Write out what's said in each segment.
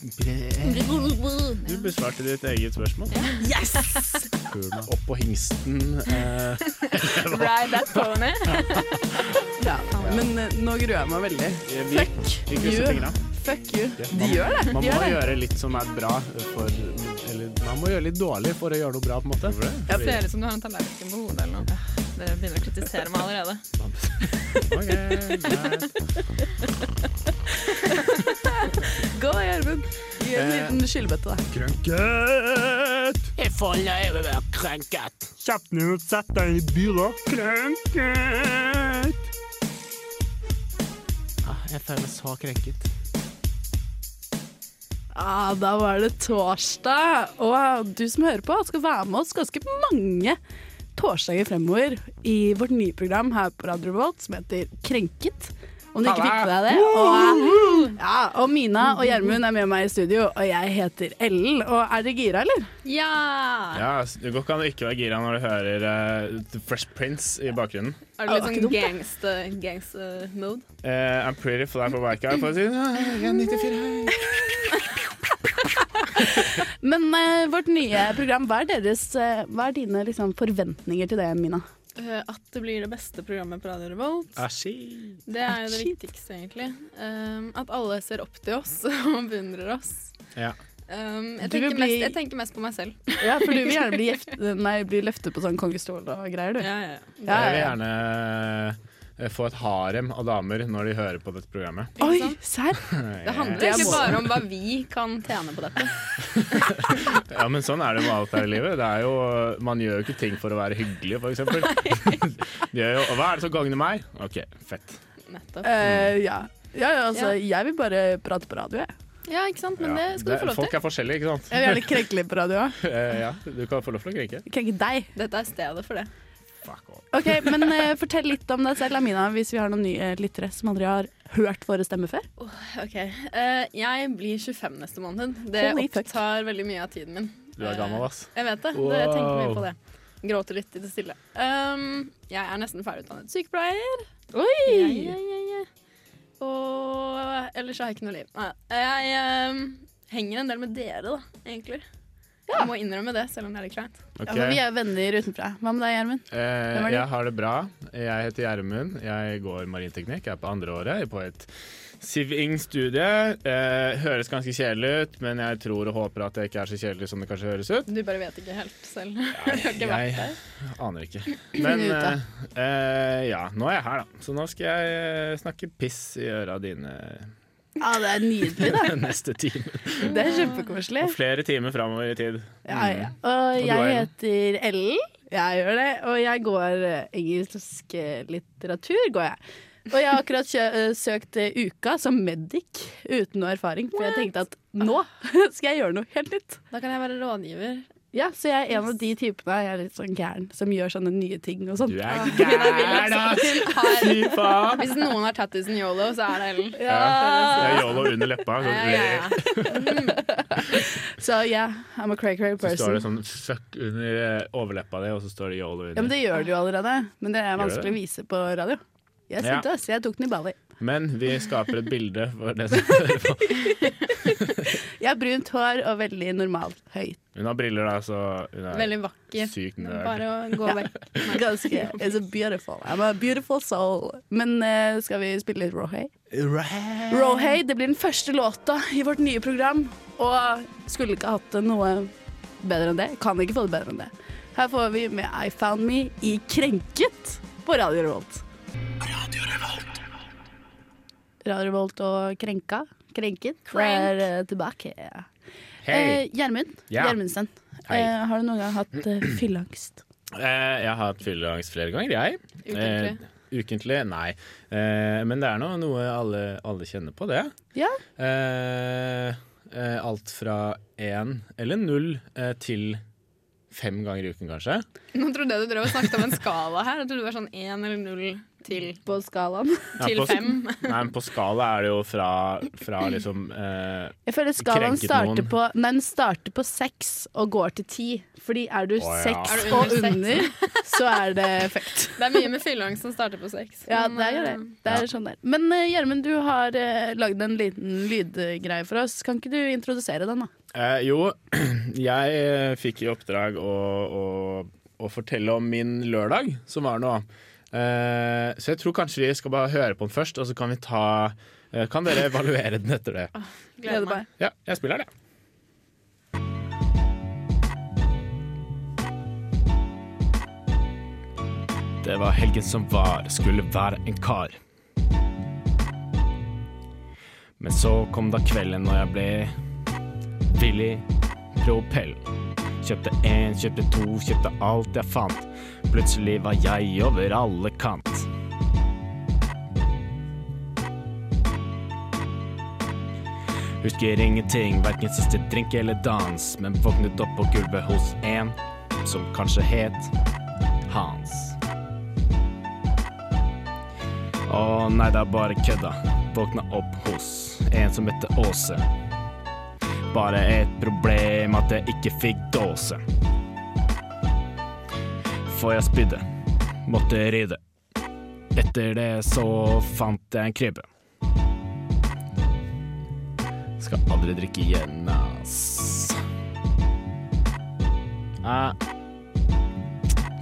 Bre- Du besvarte ditt eget spørsmål. Yes! Opp på hingsten. Eh, Ride that pony. Ja, men eh, nå gruer jeg meg veldig. vi Fuck gikk disse you. tingene. Fuck you. Ja, De man- gjør det. Man De må gjør det. gjøre litt som er bra for Eller man må gjøre litt dårlig for å gjøre noe bra, på en måte. Jeg ser ut som du har en tallerken på hodet eller noe. Dere begynner å kritisere meg allerede. Ok, greit. Gå, Gjermund. Gi en Eh. liten skyllebøtte, da. Krenket! Jeg får lære å være krenket. Kjapp ned og sett deg i bilen. Krenket! Ah, jeg føler meg så krenket. Ah, da var det torsdag. Og du som hører på, skal være med oss ganske mange torsdager fremover i vårt nye program her på Radio Revolt som heter Krenket. Om du ikke fikk med deg det. Og, ja, og Mina og Gjermund er med meg i studio, og jeg heter Ellen. Og er dere gira, eller? Ja! Ja, ass, Det går ikke an å ikke være gira når du hører eh, The Fresh Prince i bakgrunnen. Er det det litt sånn litt sånn gangster, mode? Eh, I'm pretty fly for white guy. For å si, ah, jeg er 94. Men eh, vårt nye program, hva er, deres, eh, hva er dine liksom, forventninger til det, Mina? Eh, at det blir det beste programmet på Radio Revolt. Ah, Aschi. Det er jo det Shit. viktigste, egentlig. Um, at alle ser opp til oss og beundrer oss. Ja. Um, jeg, Du vil tenker mest, bli- jeg tenker mest på meg selv. Ja, for du vil gjerne bli, gjeft, nei, bli løftet på sånn kongestol og greier, du. Ja, ja, ja. Jeg vil gjerne eh, få et harem av damer når de hører på dette programmet. Ikke Oi, sant? serr? Det handler Det er ikke målet. bare om hva vi kan tjene på dette. Ja, men sånn er det jo med alt her i livet. Det er jo, man gjør jo ikke ting for å være hyggelig, for eksempel. Det er jo, og hva er det som gagner meg? OK, fett. Nettopp. Eh, ja. Ja, ja, altså, jeg vil bare prate på radio, jeg. Ja, ikke sant? Men det Ja, skal du få lov Folk til. er forskjellige, ikke sant? Jeg vil gjerne krenke litt på radio òg. Eh, ja, du kan få lov til å krenke. Krenke deg. Dette er stedet for det. Fuck off. Ok, Men eh, fortell litt om deg selv, Amina, hvis vi har noen nye lyttere som aldri har hørt våre stemmer før. Ok, eh, Jeg blir 25 neste måned. Det Holy fuck. opptar veldig mye av tiden min. Du er gammel, ass. Jeg vet det. det jeg tenker mye Wow. på det. Gråter litt i det stille. Um, jeg er nesten ferdigutdannet sykepleier. Oi! Ja, ja, ja, ja. Og ellers har jeg ikke noe liv. Nei, jeg um, henger en del med dere, da, egentlig. Jeg må innrømme det, selv om det er litt kleint. Ok. Ja, for vi er venner utenfra. Hva med deg, Gjermund? Eh, Hvem er du? jeg har det bra. Jeg heter Gjermund. Jeg går marinteknikk. Jeg er på andre året på et Civing-studie. Eh, høres ganske kjedelig ut, men jeg tror og håper at det ikke er så kjedelig som det kanskje høres ut. Du bare vet ikke helt selv. du har ikke vært Jeg der. aner ikke. Men ut, da. eh, eh, ja, nå er jeg her, da. Så nå skal jeg eh, snakke piss i øra dine Ja, det er nydelig, da. neste time. Det er kjempekoselig. Og flere timer framover i tid. Ja, ja. Og Mm. du jeg er heter Ellen. Jeg gjør det. Og jeg går eh, engelsk eh, litteratur, går jeg. Og jeg har akkurat kjø eh, søkt eh, Uka som medic uten noe erfaring, for jeg tenkte at nå skal jeg gjøre noe helt nytt. Da kan jeg være rådgiver. Ja, Så jeg er en av de typene jeg er litt sånn gæren som gjør sånne nye ting og Du sånn. er gæren, ass! Hun har, Fy faen! hvis noen har tattisen yolo, så er det Ellen. Ja. Jeg er yolo under leppa. Så, Ja, ja, ja. Så ja, I'm a cray-cray så står det person. sånn fuck under eh, overleppa di, og så står det yolo Ja, Men under. det gjør du jo allerede. Men det er Gjør vanskelig å vise på radio. Jeg Ja. sitter, ass. Jeg tok den i Bali. Men vi skaper et bilde for det som hører på. Jeg har brunt hår og veldig normalt høyt. Hun har briller, da, så hun er Veldig vakker. sykt nerd. Bare å gå vekk. Ganske. It's a beautiful. I'm a beautiful soul. Men eh, skal vi spille litt Rohay? Eh. Rohay, det blir den første låta i vårt nye program. Og skulle ikke hatt det noe bedre enn det. Kan ikke få det bedre enn det. Her får vi med I Found Me i Krenket på Radio Revolt. Radio Revolt og Krenka. Krenket Krenk. er eh, tilbake. Hei! Eh, Gjermund Ja. Gjermundsen, Hei. eh, har du noen gang hatt eh, fylleangst? Eh, jeg har hatt fylleangst flere ganger, jeg. Ukentlig. Eh, ukentlig? Nei. Eh, men det er nå noe alle, alle kjenner på, det. Ja. Eh, eh, alt fra én eller null eh, til fem ganger i uken, kanskje. Nå trodde jeg du drev og snakket om en skala her. Jeg trodde det var sånn 1 eller 0 til, på skalaen. på til s- fem. Nei, men på skala er det jo fra, fra liksom eh, Jeg føler skalaen Krenket starter noen. på, nei, den starter på seks og går til ti. Fordi er du Å, ja. seks Er du og under seks? under, så er det fucked. Det er mye med fylleangst som starter på seks. Ja, men, det er jo det. det er sånn der. Men eh, Gjermund, du har uh, lagd en liten lydgreie for oss. Kan ikke du introdusere den, da? Eh, jo, jeg eh, fikk i oppdrag å, å, å fortelle om min lørdag, som var nå. Eh, så jeg tror kanskje vi skal bare høre på den først, og så kan vi ta eh, Kan dere evaluere den etter det? eh, Gleder meg. Ja, jeg spiller det. Det var helgen som var, skulle være en kar. Men så kom da kvelden når jeg ble villig propell. Kjøpte én, kjøpte to, kjøpte alt jeg fant. Plutselig var jeg over alle kant. Husker ingenting, hverken siste drink eller dans, men våknet opp på gulvet hos en som kanskje het Hans. Å nei, det er bare kødda. Våkna opp hos en som heter Åse. Bare et problem at jeg ikke fikk dåse. For jeg spydde. Måtte rydde. Etter det så fant jeg en krybbe. Skal aldri drikke igjen, ass. Ah.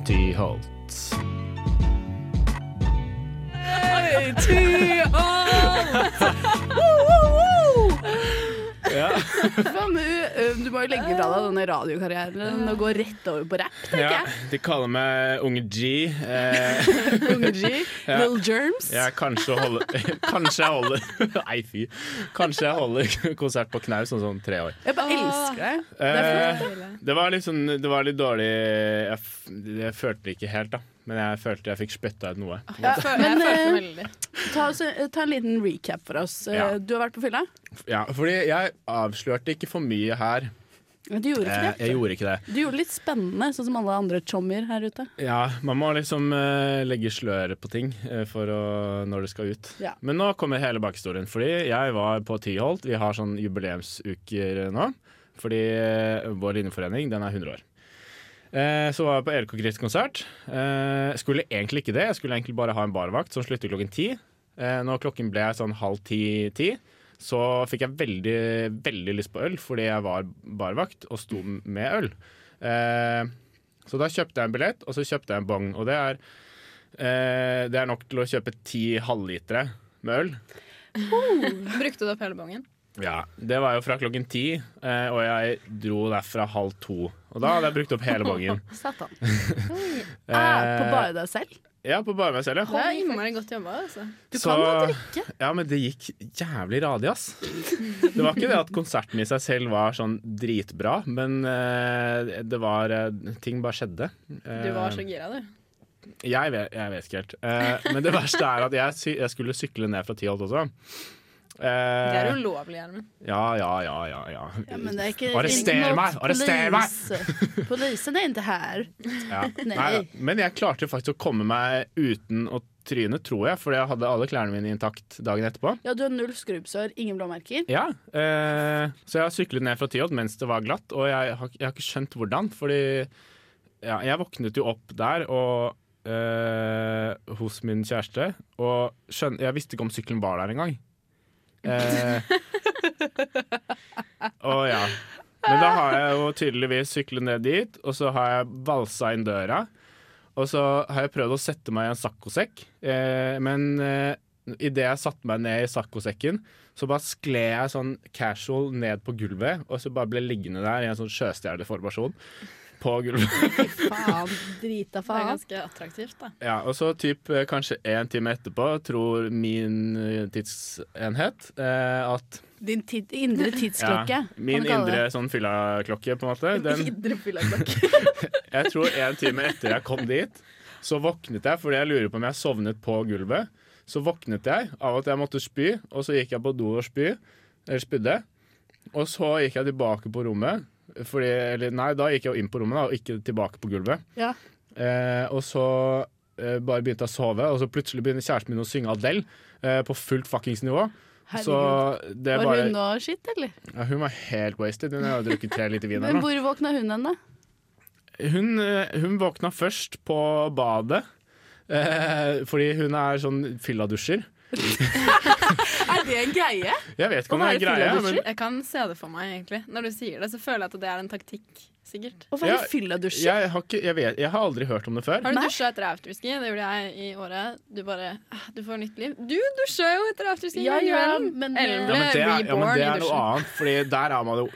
Tyholt. Ja. Hva med, eh, du må jo legge fra deg denne radiokarrieren og gå rett over på rapp, tenker jeg. De kaller meg Unge G. Eh, Unge G, Ja. Little Germs. jeg kanskje holder Kanskje jeg holder Nei, fy. Kanskje jeg holder konsert på knaus om sånn tre år. Jeg bare elsker deg. Eh, deilig. det var litt sånn Det var litt dårlig Jeg, f jeg følte det ikke helt, da. Men jeg følte jeg fikk spytta ut noe. Ja, Jeg føler, men jeg følte eh, veldig. ta, oss- eh, ta en liten recap for oss. Eh, Ja. Du har vært på fylla? Ja, fordi jeg avslørte ikke for mye her. Du Eh, gjorde ikke det. jeg gjorde ikke det. Du gjorde det litt spennende, sånn som alle andre chommier her ute. Ja, Man må liksom eh, legge sløret på ting eh, for å, når det skal ut. Ja. Men nå kommer hele bakhistorien. Fordi jeg var på Tyholt. Vi har sånn jubileumsuker nå. Fordi eh, vår linjeforening den er 100 år. Eh, Så var jeg på Erik og Chris konsert. Eh, Skulle egentlig ikke det. Jeg skulle egentlig bare ha en barvakt som slutter klokken ti. Eh, Når klokken ble sånn halv ti-ti, så fikk jeg veldig, veldig lyst på øl fordi jeg var barvakt og sto med øl. Eh, Så da kjøpte jeg en billett, og så kjøpte jeg en bong. Og det er, eh, det er nok til å kjøpe ti halvlitere med øl. Brukte du opp hele bongen? Ja, Det var jo fra klokken ti, eh, og jeg dro derfra halv to. Og da hadde jeg brukt opp hele bongen. Satan. Eh, Ah, på bare deg selv? Ja, på bare meg selv, Det ja. er innmari godt jobba. Altså. Du Så- kan jo drikke. ja. Men det gikk jævlig radig, ass. Det var ikke det at konserten i seg selv var sånn dritbra, men eh, det var eh, Ting bare skjedde. Du var så gira, du. Jeg vet, jeg vet ikke helt. Eh, men det verste er at jeg, sy jeg skulle sykle ned fra Tiholt også. Det Eh, er ulovlig, Gjermund. ja, ja, ja, ja, ja. det er ikke Arrester meg! Arrester meg! Polisen er ikke her. Ja. Nei. Neida. Men jeg klarte faktisk å komme meg uten å tryne, tror jeg, fordi jeg hadde alle klærne mine intakt dagen etterpå. Ja, du har null skrubbsår, ingen blåmerker. Ja, eh, Så jeg har syklet ned fra Tyholt mens det var glatt, og jeg har, jeg har ikke skjønt hvordan. Fordi ja, jeg våknet jo opp der og, eh, hos min kjæreste, og skjøn, jeg visste ikke om sykkelen var der engang. Eh, og ja. Men da har jeg jo tydeligvis syklet ned dit, og så har jeg valsa inn døra. Og så har jeg prøvd å sette meg i en saccosekk, eh, men eh, idet jeg satte meg ned i saccosekken, så bare skled jeg sånn casual ned på gulvet, og så bare ble liggende der i en sånn sjøstjerneformasjon på gulvet. Faen. Drita Det er faen. ganske attraktivt, da. Ja, og så typ eh, kanskje en time etterpå tror min eh, tidsenhet eh, at Din tid, indre ja, tidsklokke. kan Min du kalle det. indre sånn fyllaklokke, på en måte. Den, Indre fyllaklokke. jeg tror en time etter jeg kom dit, så våknet jeg fordi jeg lurer på om jeg sovnet på gulvet. Så våknet jeg av at jeg måtte spy, og så gikk jeg på do og spy, eller spydde. Og så gikk jeg tilbake på rommet. Fordi, eller nei, da gikk jeg jo inn på rommet da, og ikke tilbake på gulvet. Ja. Eh, og så eh, bare begynte jeg å sove, og så plutselig begynner kjæresten min å synge Adele eh, på fullt fuckings nivå. Så Herregud. det er Var bare hun nå skitt, eller? ja, Hun var helt wasted. Hun har jo drukket tre liter vin Men ennå. hvor våkna hun henne? Hun, eh, hun våkna først på badet. eh, fordi hun er sånn fylladusjer. Er det en greie? Jeg vet ikke om Å det er være greia, fylladusjer? men Jeg kan se det for meg, egentlig. Når du sier det, så føler jeg at det er en taktikk, sikkert. Å være Ja, fylladusjer? jeg har, ikke, jeg, vet, jeg har aldri hørt om det før. Har du Nei. dusja etter afterski? Det gjorde jeg i året. Du bare ah, Du får nytt liv. Du dusja jo etter afterski! Ja, hver ja, kveld. men- eh, Eller Ja, men det er, ja, men reborn det i er noe dusjen. annet, Fordi der er man jo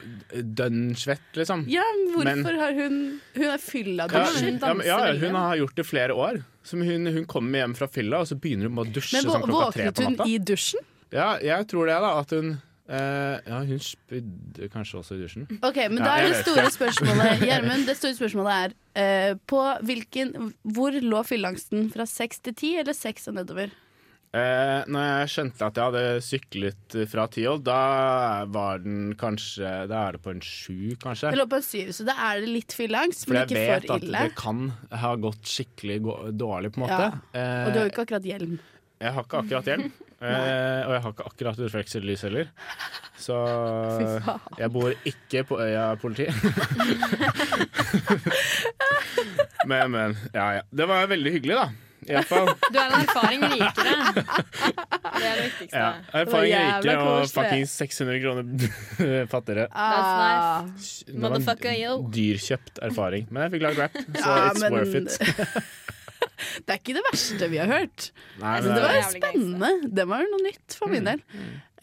dønn svett, liksom. Ja, men hvorfor Men- har hun Hun er Ja, fylladusjer. ja, men- ja, hun har gjort det flere år. Som hun, hun kommer hjem fra fylla, og så begynner hun bare å dusje Men sånn vå- klokka tre våknet på hun natta. i dusjen? Ja, jeg tror det, da. At hun eh, Ja, hun spydde kanskje også i dusjen. Ok, men Ja, da jeg er vet det store spørsmålet Gjermund, det store spørsmålet er eh, På hvilken Hvor lå fylleangsten? Fra seks til ti, eller seks og nedover? Eh, når jeg skjønte at jeg hadde syklet fra Tiholt, da var den kanskje Da er det på en sju, kanskje. Det lå på en syv, så da er det litt fylleangst, For men jeg ikke vet for at ille. det kan ha gått skikkelig gå- dårlig, på en måte. Eh, Og du har jo ikke akkurat hjelm. Jeg har ikke akkurat hjelm, eh, og jeg har ikke akkurat reflekslys heller. Så Fy faen. jeg bor ikke på øya politi. men, men. Ja, ja. Det var veldig hyggelig, da. I hvert fall. Du er en erfaring rikere. Det er det viktigste. Ja. Erfaring rikere og fuckings 600 kroner fattigere. Ah. Det var en Motherfucker, yo. Dyrkjøpt erfaring. Men jeg fikk lagd rap, så Ja, it's men- worth it. Det er ikke det verste vi har hørt. Nei, Altså, men, det var jo jævlig gangster. spennende. Det var jo noe nytt for Mm. min del.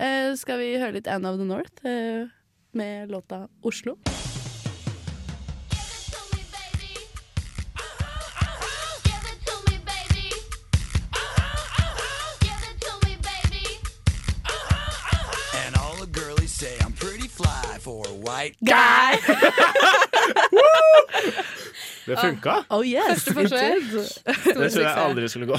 Eh, skal vi høre litt Anne of the North eh, med låta 'Oslo'? And all the girlies say I'm pretty fly for a white det funka! Oh yes! Første forsøk. it did. Det trodde jeg aldri skulle gå.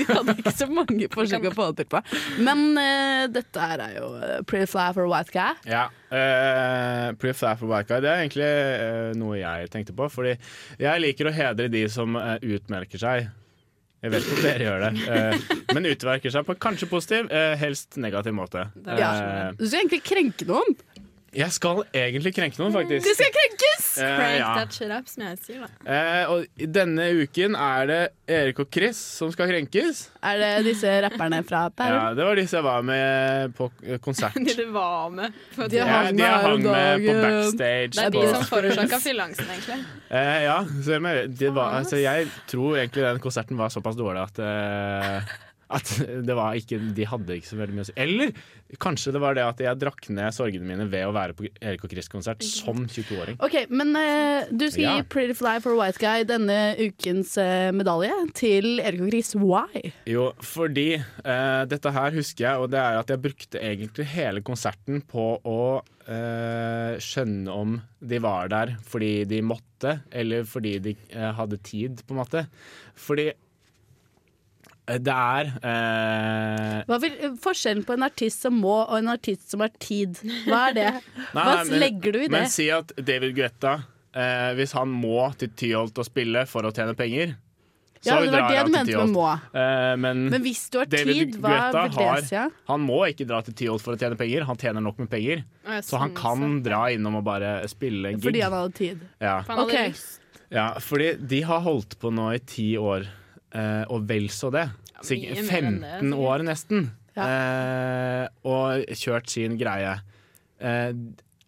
Vi hadde ikke så mange forsøk å få det til på. Men eh, dette her er jo eh, Pretty Fly for a White Guy. Ja. Uh, Pretty fly for white guy. Det er egentlig eh, noe jeg tenkte på. Fordi jeg liker å hedre de som eh, utmerker seg. Jeg vet ikke om dere gjør det. eh, men utmerker seg på en kanskje positiv, eh, helst negativ måte. er Ja. Eh, Du skal egentlig krenke noen. jeg skal egentlig krenke noen, faktisk. Du skal krenkes! Eh, Prank ja. that shit up, som jeg sier, da. Eh, og i denne uken er det Erik og Chris som skal krenkes. Er det disse rapperne fra Bærum? Ja, det var disse jeg var med på eh, konsert. De du var med. på De tur. Ja, hang de jeg her om hang med på dagen. backstage. Det er de på- som forårsaka fylleangsten, egentlig. Eh, ja, selv om jeg, det var, altså, jeg tror egentlig den konserten var såpass dårlig at eh, At det var ikke, de hadde ikke så veldig mye å si. Eller kanskje det var det at jeg drakk ned sorgene mine ved å være på Erik og Chris-konsert som 22-åring. Ok, men eh, du skal Ja. gi Pretty Fly for a White Guy denne ukens eh, medalje til Erik og Chris. Why? Jo, fordi eh, dette her husker jeg, og det er at jeg brukte egentlig hele konserten på å eh, skjønne om de var der fordi de måtte, eller fordi de eh, hadde tid, på en måte. Fordi eh, det er eh, Hva vil, forskjellen på en artist som må, og en artist som har tid? Hva er det? Nei, Hva nei, men- legger du i det? Men si at David Guetta eh, Hvis han må til Tyholt og spille for å tjene penger, ja, det var det du mente med må. Eh, men Men hvis du har David tid, hva Guetta vil det har- si? ja? han må ikke dra til Tyholt for å tjene penger. Han tjener nok med penger, Å, ja, så han sånn kan sett. dra innom og bare spille en gig. Fordi han hadde tid. ja. For han hadde Ok. lyst. ja, fordi de har holdt på nå i ti år, eh, og vel så det. Sikk- mye mer enn 15 det, år nesten. Eh, og kjørt sin greie. Eh,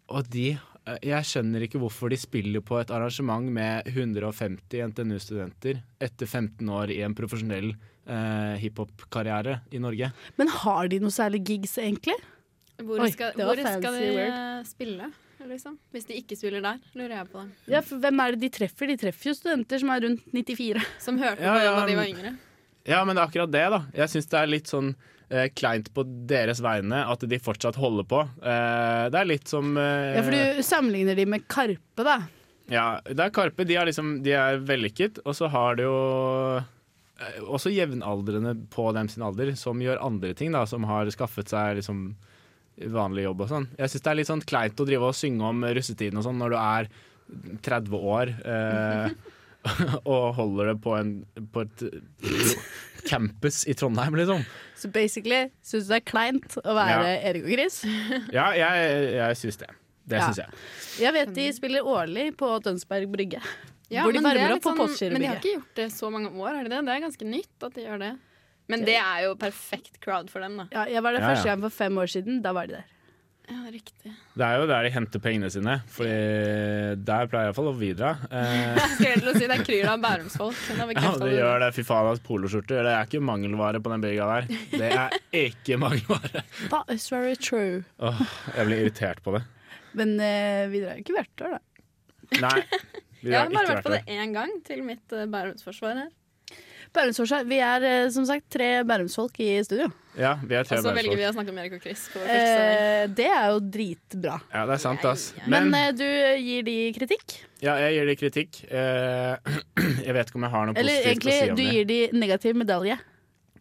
og de eh, Jeg skjønner ikke hvorfor de spiller på et arrangement med 150 NTNU-studenter etter 15 år i en profesjonell eh, hiphop-karriere i Norge. Men har de noe særlig gigs, egentlig? Hvor Oi, skal, det var hvor skal fancy de word. eh, spille, liksom? Hvis de ikke spiller der, lurer jeg på dem. Ja, for hvem er det de treffer? De treffer jo studenter som er rundt 94. Som hørte Ja, på ja, da de men- var yngre. Ja, men det er akkurat det, da. Jeg syns det er litt sånn eh, kleint på deres vegne at de fortsatt holder på. Eh, det er litt som eh, Ja, for du sammenligner de med Karpe, da. Ja, det er Karpe. De er, liksom, de er vellykket, og så har de jo eh, også jevnaldrende på dem sin alder som gjør andre ting, da, som har skaffet seg liksom vanlig jobb og sånn. Jeg syns det er litt sånn kleint å drive og synge om russetiden og sånn når du er 30 år. Eh, og holder det på, en, på et campus i Trondheim, liksom. Så basically syns du det er kleint å være Erik og Chris? Ja, jeg, jeg syns det. Det Ja. syns jeg. Jeg vet de spiller årlig på Tønsberg Brygge. Ja, hvor de men det er varmer litt opp for sånn- Men de har Postgirobygget. ikke gjort det så mange år, er det det? Det er ganske nytt at de gjør det. Men det er jo perfekt crowd for dem, da. Ja, jeg var der Ja, første ja. gang for fem år siden. Da var de der. Ja, riktig. Det er jo der de henter pengene sine, Fordi der pleier iallfall å bidra. Eh, Jeg skulle til å si det er kryr av bærumsfolk. men da ja, bekreftet det du gjør det. Fy faen, ass, poloskjorter. Det er ikke mangelvare på den bygda der. Det er ikke mangelvare. That is very true. Åh, jeg blir irritert på det. Men eh, vi drar jo ikke hvert år, da. Nei. Vi Jeg har har bare ikke vært vært på det der. én gang, til mitt eh, bærumsforsvar her. Bærumsårsak. Vi er eh, som sagt tre bærumsfolk i studio. Ja, vi er Og tre så Altså, velger vi bæsjfolk. å snakke om Erik og Chris. På eh, Eh, det er jo dritbra. Ja, det er sant, ass. Men, Men eh, du gir de kritikk? ja, jeg gir dem kritikk. Eh, jeg vet ikke om jeg har noe Eller positivt å egentlig, si om du det. gir de negativ medalje.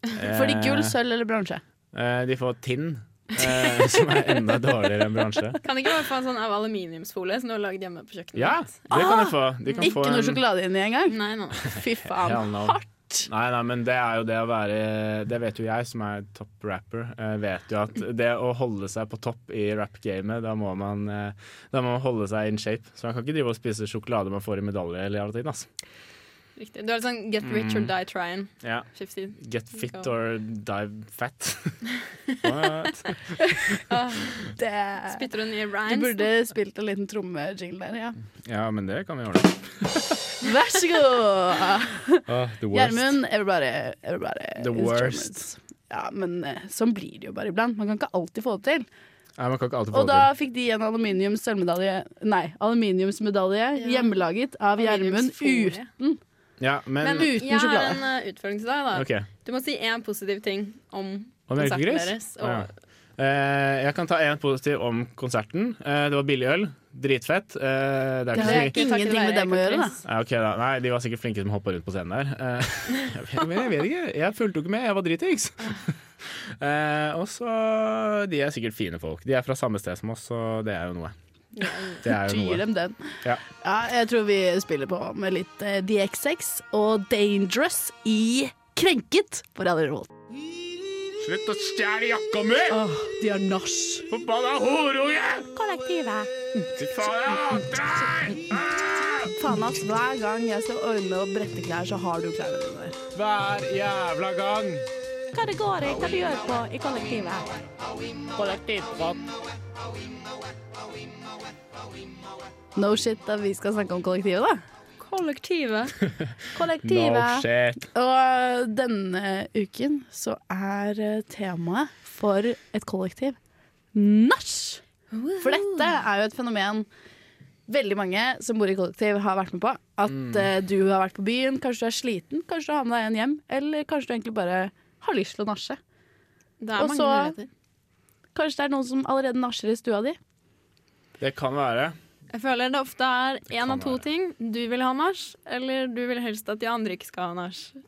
Får de gull, sølv eller bronse? Eh, de får tinn, eh, som er enda dårligere enn bransje. kan ikke bare få en sånn av aluminiumsfolie som du har lagd hjemme på kjøkkenet? Ja, ditt? det kan de få. De kan Ikke få noe en- sjokolade inni engang? Nei, nei, nei. Fy faen. Hell no. Nei, nei, men det er jo det å være Det vet jo jeg som er topp rapper. eh, vet jo at det å holde seg på topp i rap-gamet, da, må man, eh, da må man holde seg in shape. Så man kan ikke drive og spise sjokolade man får i medalje eller alle ting. Altså. Riktig. Du har litt sånn get rich Mm. or die trying. Ja. 50. Get fit or die fat. What? Det Spytter du nye Du rhymes? burde spilt en liten trommejingle der, ja. Ja, men det kan vi ordne. Vær så god! Oh, the Gjermund, everybody, everybody. The instruments. worst. Ja, men eh, sånn blir det jo bare iblant. Man kan ikke alltid få det til. Nei, man kan ikke alltid få Og det da fikk de en aluminiums sølvmedalje Nei, aluminiumsmedalje Ja. hjemmelaget av Gjermund Aluminiumsfolie. ut. til. Ja, men, Men uten jeg har sjokolade. en eh, utfordring til deg. da OK. Du må si én positiv ting om, Om Erik og konserten Chris? deres. Og, Ja. Eh, jeg kan ta én positiv om konserten. Eh, det var billig øl. Dritfett. Eh, det er Det ikke har så jeg mye ikke ingenting med dem å gjøre, da. Ja, ok da, Nei, De var sikkert flinke som hoppa rundt på scenen der. Eh, jeg vet- Men jeg vet ikke. Jeg fulgte jo ikke med, jeg var dritings. Eh, og så De er sikkert fine folk. De er fra samme sted som oss, så det er jo noe. Det er jo noe. Gir dem den. Ja. jeg tror vi spiller på med litt eh, DXX og Dangerous i Krenket på Radio Revolt. Slutt å stjele jakka mi! Åh, de har nach. Forbanna horunge! Kollektivet. Fy faen, jeg hater deg! Faen ass, hver gang jeg skal ordne og brette klær, så har du klærne dine der. Hver jævla gang. hva det går i, hva du gjør på i kollektivet. No shit da vi skal snakke om kollektivet, da. Kollektivet. No Kollektivet. shit. Og denne uken så er eh, temaet for et kollektiv nach. For dette er jo et fenomen veldig mange som bor i kollektiv har vært med på. At Mm. eh, du har vært på byen, kanskje du er sliten, kanskje du har med deg en hjem, eller kanskje du egentlig bare har lyst til å nasje. Det er Og mange så- muligheter. Kanskje det er noen som allerede nasjer i stua di. Det kan være. Jeg føler det ofte er én kan av to være. ting. Du vil ha nach, eller du vil helst at de andre ikke skal ha nach. Det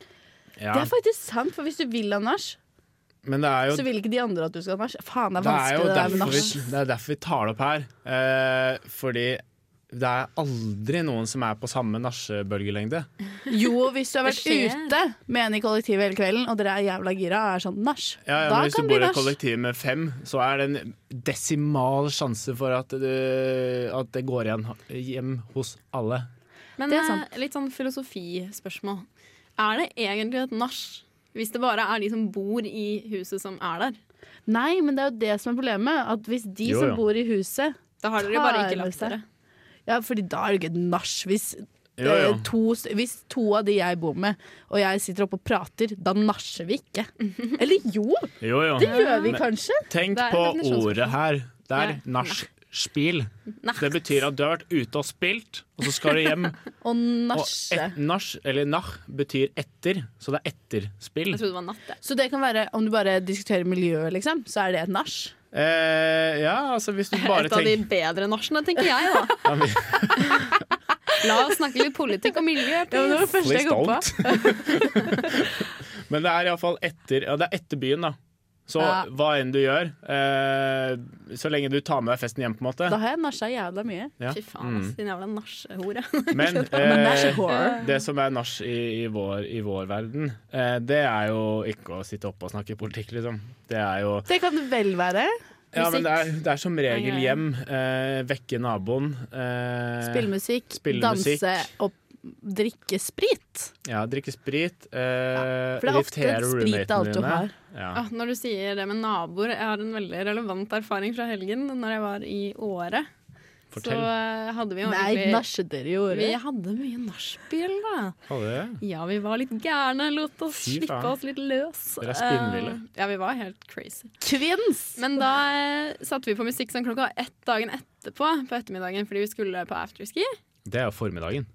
Ja. er faktisk sant, for hvis du vil ha nach, Men det er jo så vil ikke de andre at du skal ha nach. Faen, det er Det er jo vanskelig det der med derfor vi, nach. det er derfor vi tar det opp her. Eh, fordi det er aldri noen som er på samme nachbølgelengde. Jo, hvis du har vært Det skjer. ute med en i kollektivet hele kvelden, og dere er jævla gira og er sånn nach, Ja, ja, da men hvis du kan det bor i bli et nach. kollektiv med fem, så er det en desimal sjanse for at det, at det går igjen hjem hos alle. Men Det er eh, sant. litt sånn filosofispørsmål. Er det egentlig et nach hvis det bare er de som bor i huset, som er der? Nei, men det er jo det som er problemet, at hvis de Jo, som jo. bor i huset Da har dere jo bare Tar ikke med lagt seg. dere. ja, fordi da er det ikke et nach. Hvis, Jo, jo. eh, to st- hvis to av de jeg bor med, og jeg sitter oppe og prater, da nasjer vi ikke. Eller jo, jo, jo. det gjør vi kanskje. Tenk Det er på en definisjonsspørsmål. ordet her. Det er Ja. nachspiel. Nacht. Det betyr at du har vært ute og spilt, og så skal du hjem. Og Og nasje. et, nach, eller nach, betyr etter, så det er etterspill. Jeg trodde det var natt, jeg. Så det kan være, om du bare diskuterer miljøet, liksom, så er det et nach. Eh, ja, altså hvis du bare Et av de tenker bedre nachene, tenker jeg, da. Ja, men- La oss snakke litt politikk og miljø. Ja, men det var det første jeg kom på. Men det er iallfall etter, ja, det er etter byen, da. Så Ja. hva enn du gjør, eh, så lenge du tar med deg festen hjem, på en måte. Da har jeg nasja jævla mye. Ja. Mm. Fy faen, ass, din jævla nachhore. Men, Men det er eh, ikke horror. det som er nach i, i, vår, i vår verden, eh, det er jo ikke å sitte oppe og snakke politikk, liksom. Det er jo Det kan det vel være. Ja, men det er, det er som regel Nei, ja. hjem. Eh, vekke naboen. Eh, Spille musikk, spille musikk. danse og drikke sprit. Ja, drikke sprit. Eh, For det er ofte irritere sprit det er alt du roommatene dine. har. Ja. Ah, når du sier det med naboer, jeg har en veldig relevant erfaring fra helgen. Når jeg var i Åre, så Fortell. eh, hadde vi jo Nei, egentlig nasje dere gjorde. Vi hadde mye nachspiel, da. Hadde det? Ja, vi var litt gærne. Lot oss Fy slippe faen. oss litt løs. Dere er spinnville. Eh, ja, vi var helt crazy. Kvinns! Men da eh, satte vi på musikk sånn klokka ett dagen etterpå, på ettermiddagen, fordi vi skulle på afterski. Det er jo formiddagen.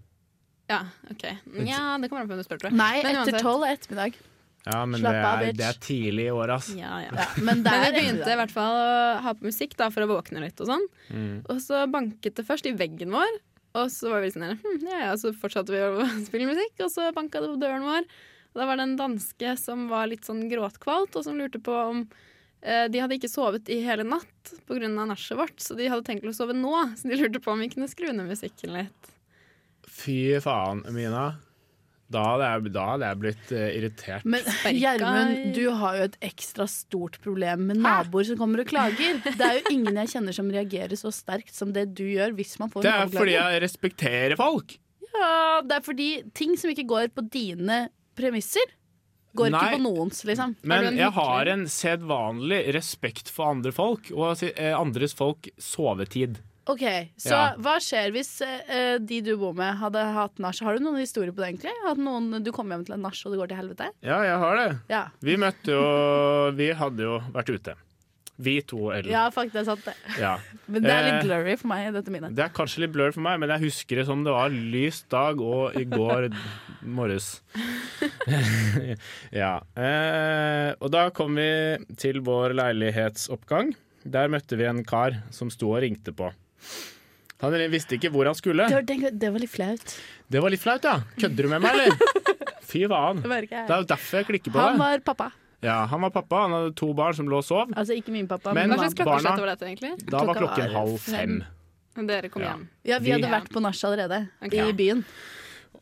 Ja, OK. Nja, det kommer an på hvem du spør, tror jeg. Nei, Men etter uansett. tolv er ettermiddag. Ja, men det Slapp er, av, bitch. det er tidlig i år, ass. Ja, ja. Ja, men det Men er vi begynte i ettermiddag. hvert fall å ha på musikk da, for å våkne litt og sånn. Mm. Og så banket det først i veggen vår, og så var vi litt sånn her, hm, ja, ja, så fortsatte vi å spille musikk, og så banka det på døren vår. Og da var det en danske som var litt sånn gråtkvalt, og som lurte på om eh, de hadde ikke sovet i hele natt pga. nachet vårt, så de hadde tenkt å sove nå. Så de lurte på om vi kunne skru ned musikken litt. Fy faen, Mina. Da hadde jeg, da hadde jeg blitt eh, irritert. Men Sperka Gjermund, i- du har jo et ekstra stort problem med naboer som kommer og klager. Det er jo ingen jeg kjenner som reagerer så sterkt som det du gjør hvis man får Det en er fordi naboklage. jeg respekterer folk! Ja, det er fordi ting som ikke går på dine premisser, går Nei. ikke på noens, liksom. Er du Men en jeg har hykler? en sedvanlig respekt for andre folk, og si- eh, andres folk sovetid. Ok, Så Ja. hva skjer hvis eh, de du bor med, hadde hatt nach? Har du noen historier på det, egentlig? At noen, du kommer hjem til en nach, og det går til helvete? Ja, jeg har det. Ja. Vi møtte jo Vi hadde jo vært ute. Vi to, eller Ja, fuck, det er sant, det. ja. Men det er Eh. litt blurry for meg, dette minnet. Det er kanskje litt blør for meg, men jeg husker det som det var lys dag og i går morges. ja. Eh, og da kom vi til vår leilighetsoppgang. Der møtte vi en kar som sto og ringte på. Han visste ikke hvor han skulle. Det var, den- det var litt flaut. Det var litt flaut, ja. Kødder du med meg, eller? Fy faen. Det var ikke Det er jeg. jo derfor jeg klikker på deg. Han var pappa. Ja, han var pappa. Han hadde to barn som lå og sov. Altså ikke min pappa, Men- men, Hva mamma. slags barna- klokkeslett var dette, egentlig? Da var klokka var klokken halv fem. Men Dere kom Ja. hjem. Ja, vi Vi- hadde vært på nach allerede, Ok. i byen.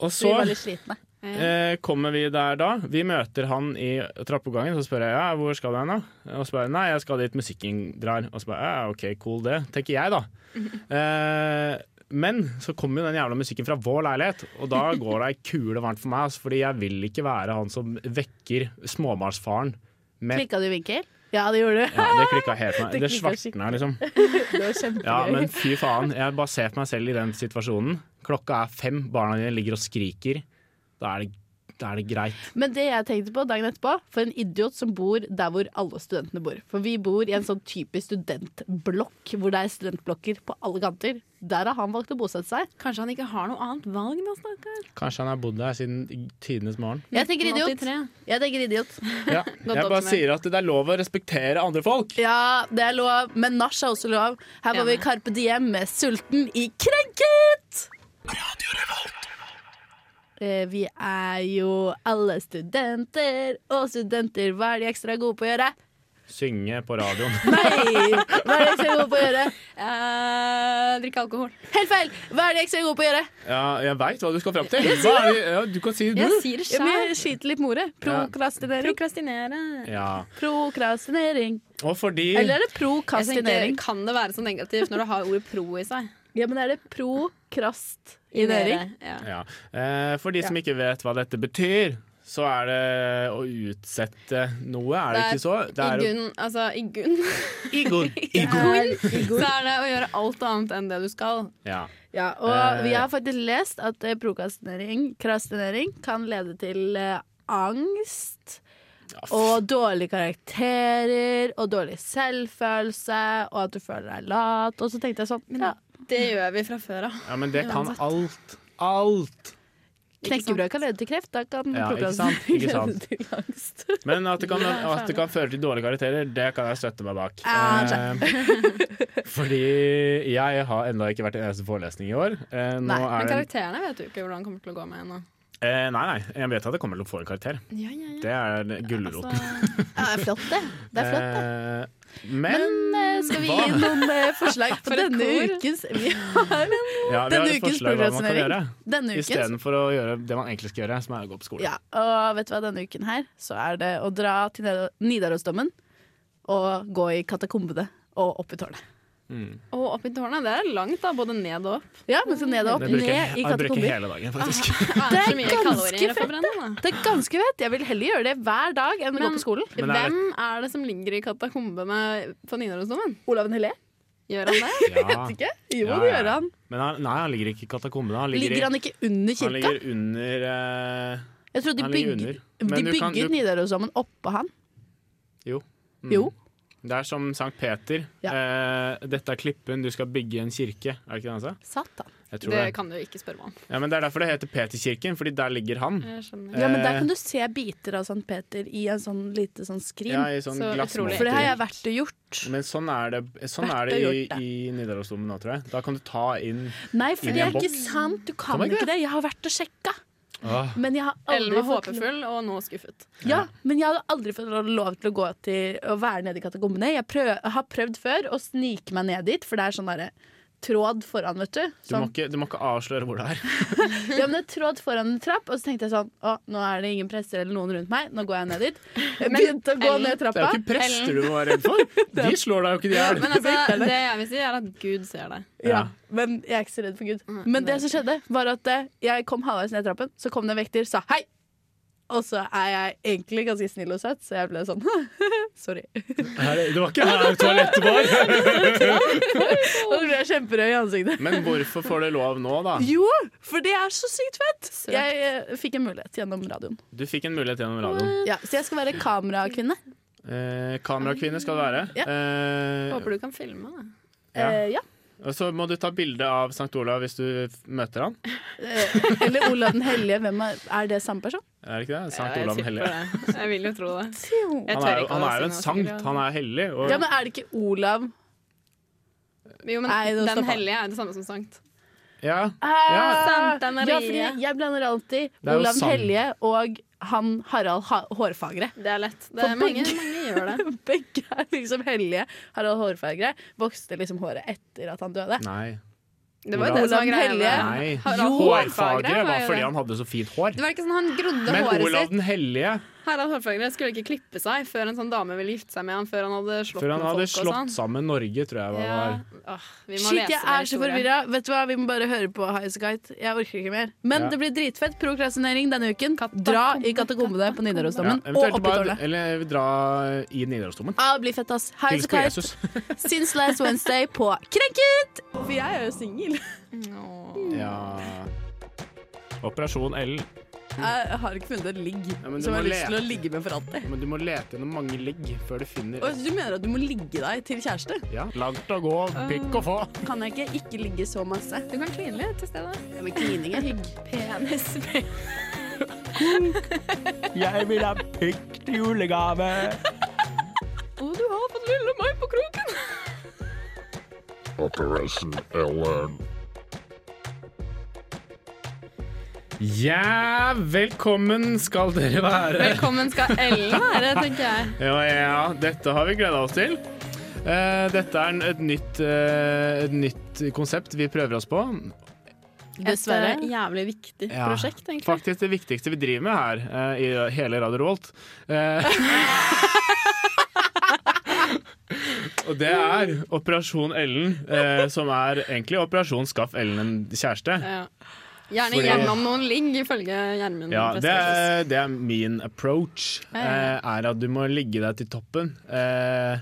Og Så vi så var litt slitne. Eh, kommer vi der da? Vi møter han i trappeoppgangen, så spør jeg ja, hvor skal du hen da? Og så spør jeg nei, jeg skal dit musikken drar. Og så spør jeg ja, ok, cool det, tenker jeg da. Mhm. Eh, men så kommer jo den jævla musikken fra vår leilighet, og da går det ei kule varmt for meg, altså, fordi jeg vil ikke være han som vekker småbarnsfaren med Klikka du i vinkel? Ja, det gjorde du. ja, Det klikka helt for meg. Det Det klikket svartna, liksom. Det var kjempegøy. Ja, men fy faen. Jeg bare ser på meg selv i den situasjonen. Klokka er fem, barna dine ligger og skriker. Da er det, da er det greit. Men det jeg tenkte på dagen etterpå, for en idiot som bor der hvor alle studentene bor. For vi bor i en sånn typisk studentblokk, hvor det er studentblokker på alle kanter. Der har han valgt å bosette seg. Kanskje han ikke har noe annet valg, da, stakkar. Kanskje han har bodd der siden tidenes morgen. Jeg tenker idiot. 1983. Jeg tenker idiot. Ja. Jeg bare oppsummert. sier at det er lov å respektere andre folk. Ja, det er lov, men nach er også lov. Her var vi i Enig. Carpe Diem med 'Sulten i krenket'. Eh, Vi er jo alle studenter, og studenter, hva er de ekstra gode på å gjøre? Synge på radioen. Nei! Hva er de ekstra gode på å gjøre? Eh, drikke alkohol. Helt feil! Hva er de ekstra gode på å gjøre? Ja, jeg veit hva du skal fram til. Hva er det? Ja, du kan si det. Jeg sier det Ja, men sjæl. jeg sliter litt med ordet. Prokrastinering. Prokrastinere. Ja. Prokrastinering. Og fordi Eller er det Jeg tenker, prokastinering? kan det være så negativt når du har ordet pro i seg? Ja, men er det prokrastinering? Ja. ja. eh, For de som ikke vet hva dette betyr, så er det å utsette noe, er det Det er ikke så? Det I er gunn, altså i gunn, Igor. så er det å gjøre alt annet enn det du skal. Ja. Ja, og Eh. vi har faktisk lest at eh, prokrastinering krastinering, kan lede til eh, angst og dårlige karakterer og dårlig selvfølelse, og at du føler deg lat. Og så tenkte jeg sånn ja, Det gjør vi fra før av. ja, men det kan alt. Alt. Knekkebrød kan lede til kreft, da kan Ja, ikke sant, prokrastinering ikke lede sant. til angst. Men at det, kan, at det kan føre til dårlige karakterer, det kan jeg støtte meg bak. Ja, Eh, fordi jeg har ennå ikke vært i en eneste forelesning i år. Eh, nå Nei, er det Men en karakterene vet du ikke hvordan kommer til å gå med ennå. Eh, nei, nei, jeg vet at jeg kommer til å få en karakter. Ja, ja, ja. Det er gulroten. Altså, Ja, det er flott, det. Det er flott, det. Eh, men Eh, Skal vi Hva? gi noen eh, forslag på For et denne kor. ukens Vi ja, har vi har denne et ukens forslag hva man kan gjøre. programmering. Denne ukens. Istedenfor å gjøre det man egentlig skal gjøre, som er å gå på skole. Ja, og vet du hva, denne uken her så er det å dra til Ned- Nidarosdommen og gå i katakombene og opp i tårnet. og opp i tårnet. Det er langt, da. Både ned og opp. Ja, men så ned og opp, Det bruker, ned i jeg bruker katakomber. Ah, hele dagen, faktisk. Det er så mye ganske kalorier jeg fett, forbrenner, da. Det er ganske fett. Jeg vil heller gjøre det hver dag enn å gå Men- på skolen. Men er det- Hvem er det som ligger i katakombene på Nidarosdomen? Olav Hellé? Gjør han det? Ja. Ikke? Jo, Ja, det ja. gjør han. Men han, nei, han ligger ikke i katakombene. Han ligger, Ligger han i, ikke under han kirka? ligger under eh, Jeg trodde de han ligger bygde, under. Men de du kan- bygde du- Nidarosdommen oppå han. Jo. Mm. Jo. Det er som Sankt Peter. Eh, dette er klippen, du skal bygge en kirke. Er det ikke det han sa? Satan. Jeg tror Det det. kan du ikke spørre meg om. Ja, men det er derfor det heter Peterkirken, fordi der ligger han. Mm. Jeg skjønner. Ja, men Eh, der kan du se biter av Sankt Peter i en sånn lite sånn skrin. Ja, i sånn Så utrolig. For det har jeg glassmonter. vært og gjort. Men sånn er det, sånn Vært er det, og i, gjort det. i Nidarosdomen nå, tror jeg. Da kan du ta inn Nei, for Inni en det er ikke boks. sant. Du kan Kan man ikke ikke det. Jeg har vært og sjekka. Åh, Men jeg har Ellen aldri var fått lov- håpefull og nå skuffet. ja, men jeg hadde aldri fått lov til å gå til å være nede i katakombene. Jeg prøv, har prøvd før å snike meg ned dit, for det er sånn derre tråd foran, vet du. du, må Sånn, ikke, du må ikke avsløre hvor det er. ja, men det er tråd foran en trapp, og så tenkte jeg sånn Å, nå er det ingen presser eller noen rundt meg, nå går jeg ned dit. Jeg begynte å gå Ellen, ned Det er trappa. jo ikke prester du må være redd for! De slår deg jo ikke i hjel. Men altså, det jeg vil si, er at Gud ser deg. altså- Ja, men jeg er ikke så redd for Gud. Mm, Men det som skjedde, var at eh, jeg kom halvveis ned trappen, så kom det en vekter, sa hei! Og så er jeg egentlig ganske snill og søt, så jeg ble sånn sorry. Er det- Det var ikke her toalettet var! Og så ble jeg kjemperød i ansiktet. Men hvorfor får du lov nå, da? Jo, for det er så sykt fett! Søt. Jeg eh, fikk en mulighet gjennom radioen. Du fikk en mulighet gjennom radioen. Ja, så jeg skal være kamerakvinne. Eh, kamerakvinne skal du være. Ja. Eh, Håper du kan filme. Da. Ja. Eh, ja. og så må du ta bilde av Sankt Olav hvis du f- møter han. Eh, Eller Olav den hellige. Hvem er, er det samme person? Er det ikke det? Sankt Ja, jeg Olav den tipper hellige. det. Jeg vil jo tro det. Jeg Han tør er, jo- ikke å han er si jo en noe sankt, sikkert. han er hellig. Og Ja, men er det ikke Olav Jo, men Nei, Den nå stopper han. hellige er jo det samme som sankt. ja. Ah, Santa Maria. Ja, fordi jeg blander alltid Det er jo Olav den sang. hellige og han Harald ha Hårfagre. Det er lett. Det For er mange, begge- mange gjør det. Begge er liksom hellige. Harald Hårfagre vokste liksom håret etter at han døde. Nei. Det var jo Olav det som var den greia. hellige. med- Nei. Harald Hårfagre var jo fordi det. han hadde så fint hår. Det var ikke sånn Han grodde Men håret Olav sitt. den hellige, Harald Hårfagre skulle ikke klippe seg før en sånn dame ville gifte seg med ham. Før han hadde slått før han hadde med folk og slått sånn. sammen Norge, tror jeg det var. Ja. Åh, vi må Shit, lese mer jeg er så historie. forvirra. Vet du hva, Vi må bare høre på Highasakite. Jeg orker ikke mer. Men Ja. det blir dritfett prokrastinering denne uken. Dra i katakombene på Ja, Nidarosdommen og eventuelt opp i bare, tårnet. eller vi dra i Nidarosdomen. Ah, det blir fett, ass. Hils på Highasakite Jesus. since last Wednesday på Krenket! For jeg er jo singel. Åh. Ja. Operasjon L. Jeg har ikke funnet et ligg men du må som jeg har lyst til å lete. ligge med for alltid. Men du må lete gjennom mange legg før du finner Og Du mener at du må ligge deg til kjæreste? Ja, langt å gå, pikk å få. Kan jeg ikke ikke ligge så masse? Du kan kline litt til stedet. Ja, men klining er hygg. Penis. Jeg vil ha pikk til julegave. Å, du har fått lille meg på kroken! Operation Ellen. Ja, velkommen skal dere være. Velkommen skal Ellen være, tenker jeg. Ja, ja, dette har vi gleda oss til. Eh, dette er en- et nytt, eh, et nytt konsept vi prøver oss på. Dessverre. Et eh, jævlig viktig Ja, prosjekt, egentlig. Faktisk det viktigste vi driver med her eh, i hele Radio Rolt. Eh, og det er Operasjon Ellen, eh, som er egentlig Operasjon Skaff Ellen en kjæreste. Ja. Gjerne Fordi- gjennom noen ligg, ifølge Gjermund. Ja, det Presterhus. er, det er min approach. Eh, er at du må ligge deg til toppen. Eh,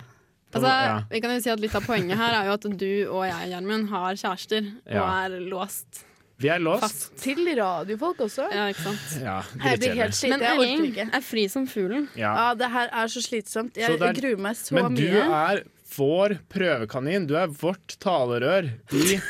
på- Altså, ja. vi kan jo si at Litt av poenget her er jo at du og jeg, Gjermund, har kjærester og Ja. er låst Vi er låst. fast. Til radiofolk også. Ja, ikke sant? Ja, Jeg blir helt dritkjedelig. sliten. Men Jeg orker Ellen ikke. er fri som fuglen. Ja. Ja, det her er så slitsomt. Jeg Så det er- jeg gruer meg så Men du mye. er vår prøvekanin. Du er vårt talerør i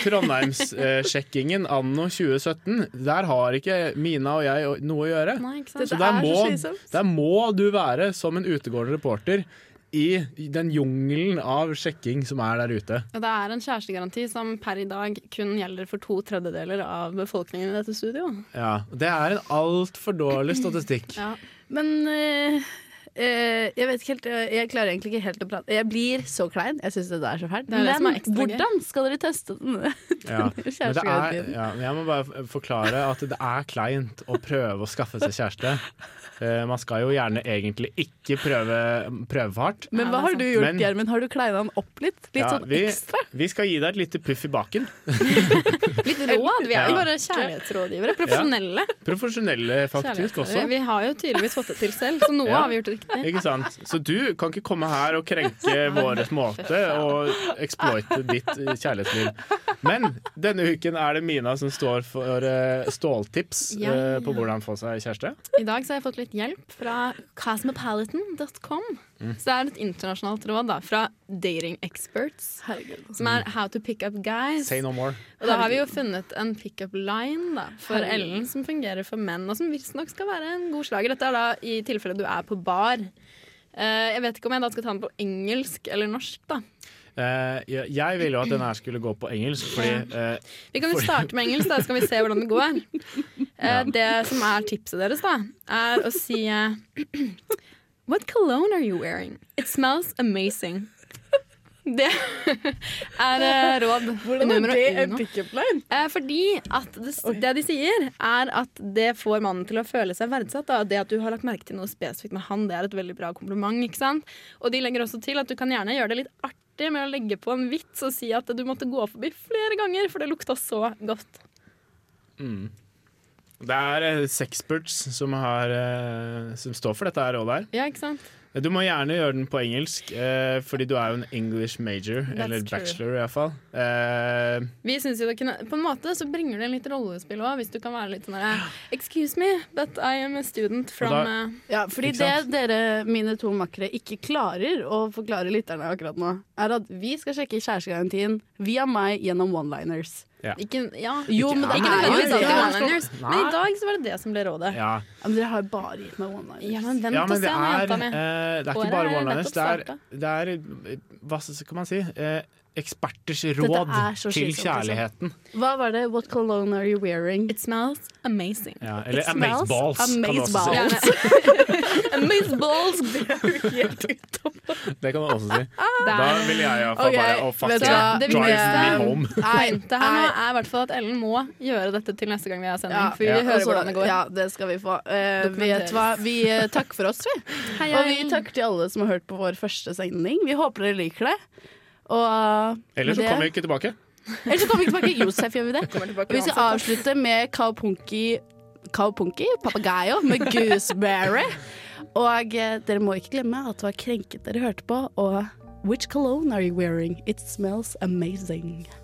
Trondheimssjekkingen anno 2017. Der har ikke Mina og jeg noe å gjøre. Nei, ikke Det sant? Så der er så må, slitsomt. der må du være som en utegående reporter i den jungelen av sjekking som er der ute. Og det er en kjærestegaranti som per i dag kun gjelder for to tredjedeler av befolkningen i dette studio. Ja, Det er en altfor dårlig statistikk. Ja. Men eh, eh, jeg vet ikke helt eh, Jeg klarer egentlig ikke helt å prate. Jeg blir så klein. Jeg syns det der er så fælt. Det er det som er Men ekstra gøy. hvordan skal dere teste den? Ja. Men det er, Kjærestegarantien. ja, men jeg må bare f- forklare at det er kleint å prøve å skaffe seg kjæreste. Eh, Man skal jo gjerne egentlig ikke prøve, prøve for hardt. Men hva har du Men- gjort, Gjermund? Har du kleina den opp litt? Litt Ja, sånn vi, ekstra? vi skal gi deg et lite puff i baken. Litt råd. Vi er jo Ja. bare kjærlighetsrådgivere. Profesjonelle. Profesjonelle faktisk også. Vi har jo tydeligvis fått det til selv, så noe Ja. har vi gjort riktig. Ikke sant? Så du kan ikke komme her og krenke vår måte og exploite ditt kjærlighetsliv. Men denne uken er det Mina som står for eh, ståltips Ja. eh, på hvordan få seg kjæreste. I dag så har jeg fått litt hjelp fra cosmopolitan.com. Så det er et internasjonalt råd da, fra dating experts, Herregud. som er how to pick up guys. Say no more. Og da har vi jo funnet en pickup line da, for Herregud. Ellen som fungerer for menn, og som visstnok skal være en god slager. Dette er da i tilfelle du er på bar. Eh, jeg vet ikke om jeg da skal ta den på engelsk eller norsk, da. Eh, jeg, jeg ville jo at den her skulle gå på engelsk, fordi eh, Vi kan jo starte med engelsk, da, så kan vi se hvordan det går. Eh, det som er tipset deres, da, er å si eh, What cologne are you wearing? It smells amazing. Det er eh, råd Hvordan er nummer det uno. en pickup line? Eh, fordi at det, det de sier, er at det får mannen til å føle seg verdsatt. Da. Det at du har lagt merke til noe spesifikt med han, det er et veldig bra kompliment. ikke sant? Og de legger også til at du kan gjerne gjøre det litt artig med å legge på en vits og si at du måtte gå forbi flere ganger, for det lukta så godt. det er eh, Sexperts som, har, eh, som står for dette her rådet her. Eh, Ja, ikke sant? Du må gjerne gjøre den på engelsk, eh, fordi du er jo en English major, eller true. bachelor iallfall. Uh, Vi synes jo det kunne, På en måte så bringer det inn litt rollespill òg, hvis du kan være litt sånn der Excuse me, but I am a student from Og eh, Ja, fordi Ikke det sant? dere, mine to makkere, ikke klarer å forklare lytterne akkurat nå, er at vi skal sjekke kjærestegarantien via meg gjennom one-liners. Ikke, ja, Jo, men det ikke er jo nødvendigvis det. alltid one-liners, men i dag så var det det som ble rådet. ja. Ja, men dere har jo bare gitt meg one-liners. Ja, men vent ja, og men se det om er, jenta mi. eh, det er Året ikke bare er one-liners. Det, er- nettopp det er eh, Hva skal man si? Eh, eksperters råd er så til slitsomt, altså. kjærligheten. Hva var det? What cologne are you wearing? It smells amazing. Ja, eller It smells amazeballs, kan du også si. amazeballs. Amazeballs! Det kan man også si. Da ville jeg iallfall Ok, bare oh, fuck vet du yeah, hva? Det drive viktigste- me home. Nei, Poenget her nå er i hvert fall at Ellen må gjøre dette til neste gang vi har sending. Ja, for vi vil ja. høre altså, hvordan det går. Ja, det skal vi få. Eh, Dokumenteres. vet du hva? Vi eh, takker for oss, vi. Hei, Og vi Ellen. takker til alle som har hørt på vår første sending. Vi håper dere liker det. Og eh, Eller så kommer vi ikke tilbake. Ellers så kommer vi tilbake. Josef, gjør vi det? tilbake Og vi skal avslutte med Kaupunki Kaupunki, Papagayo med Gooseberry. Og eh, dere må ikke glemme at det var krenket dere hørte på, og Which cologne are you wearing? It smells amazing.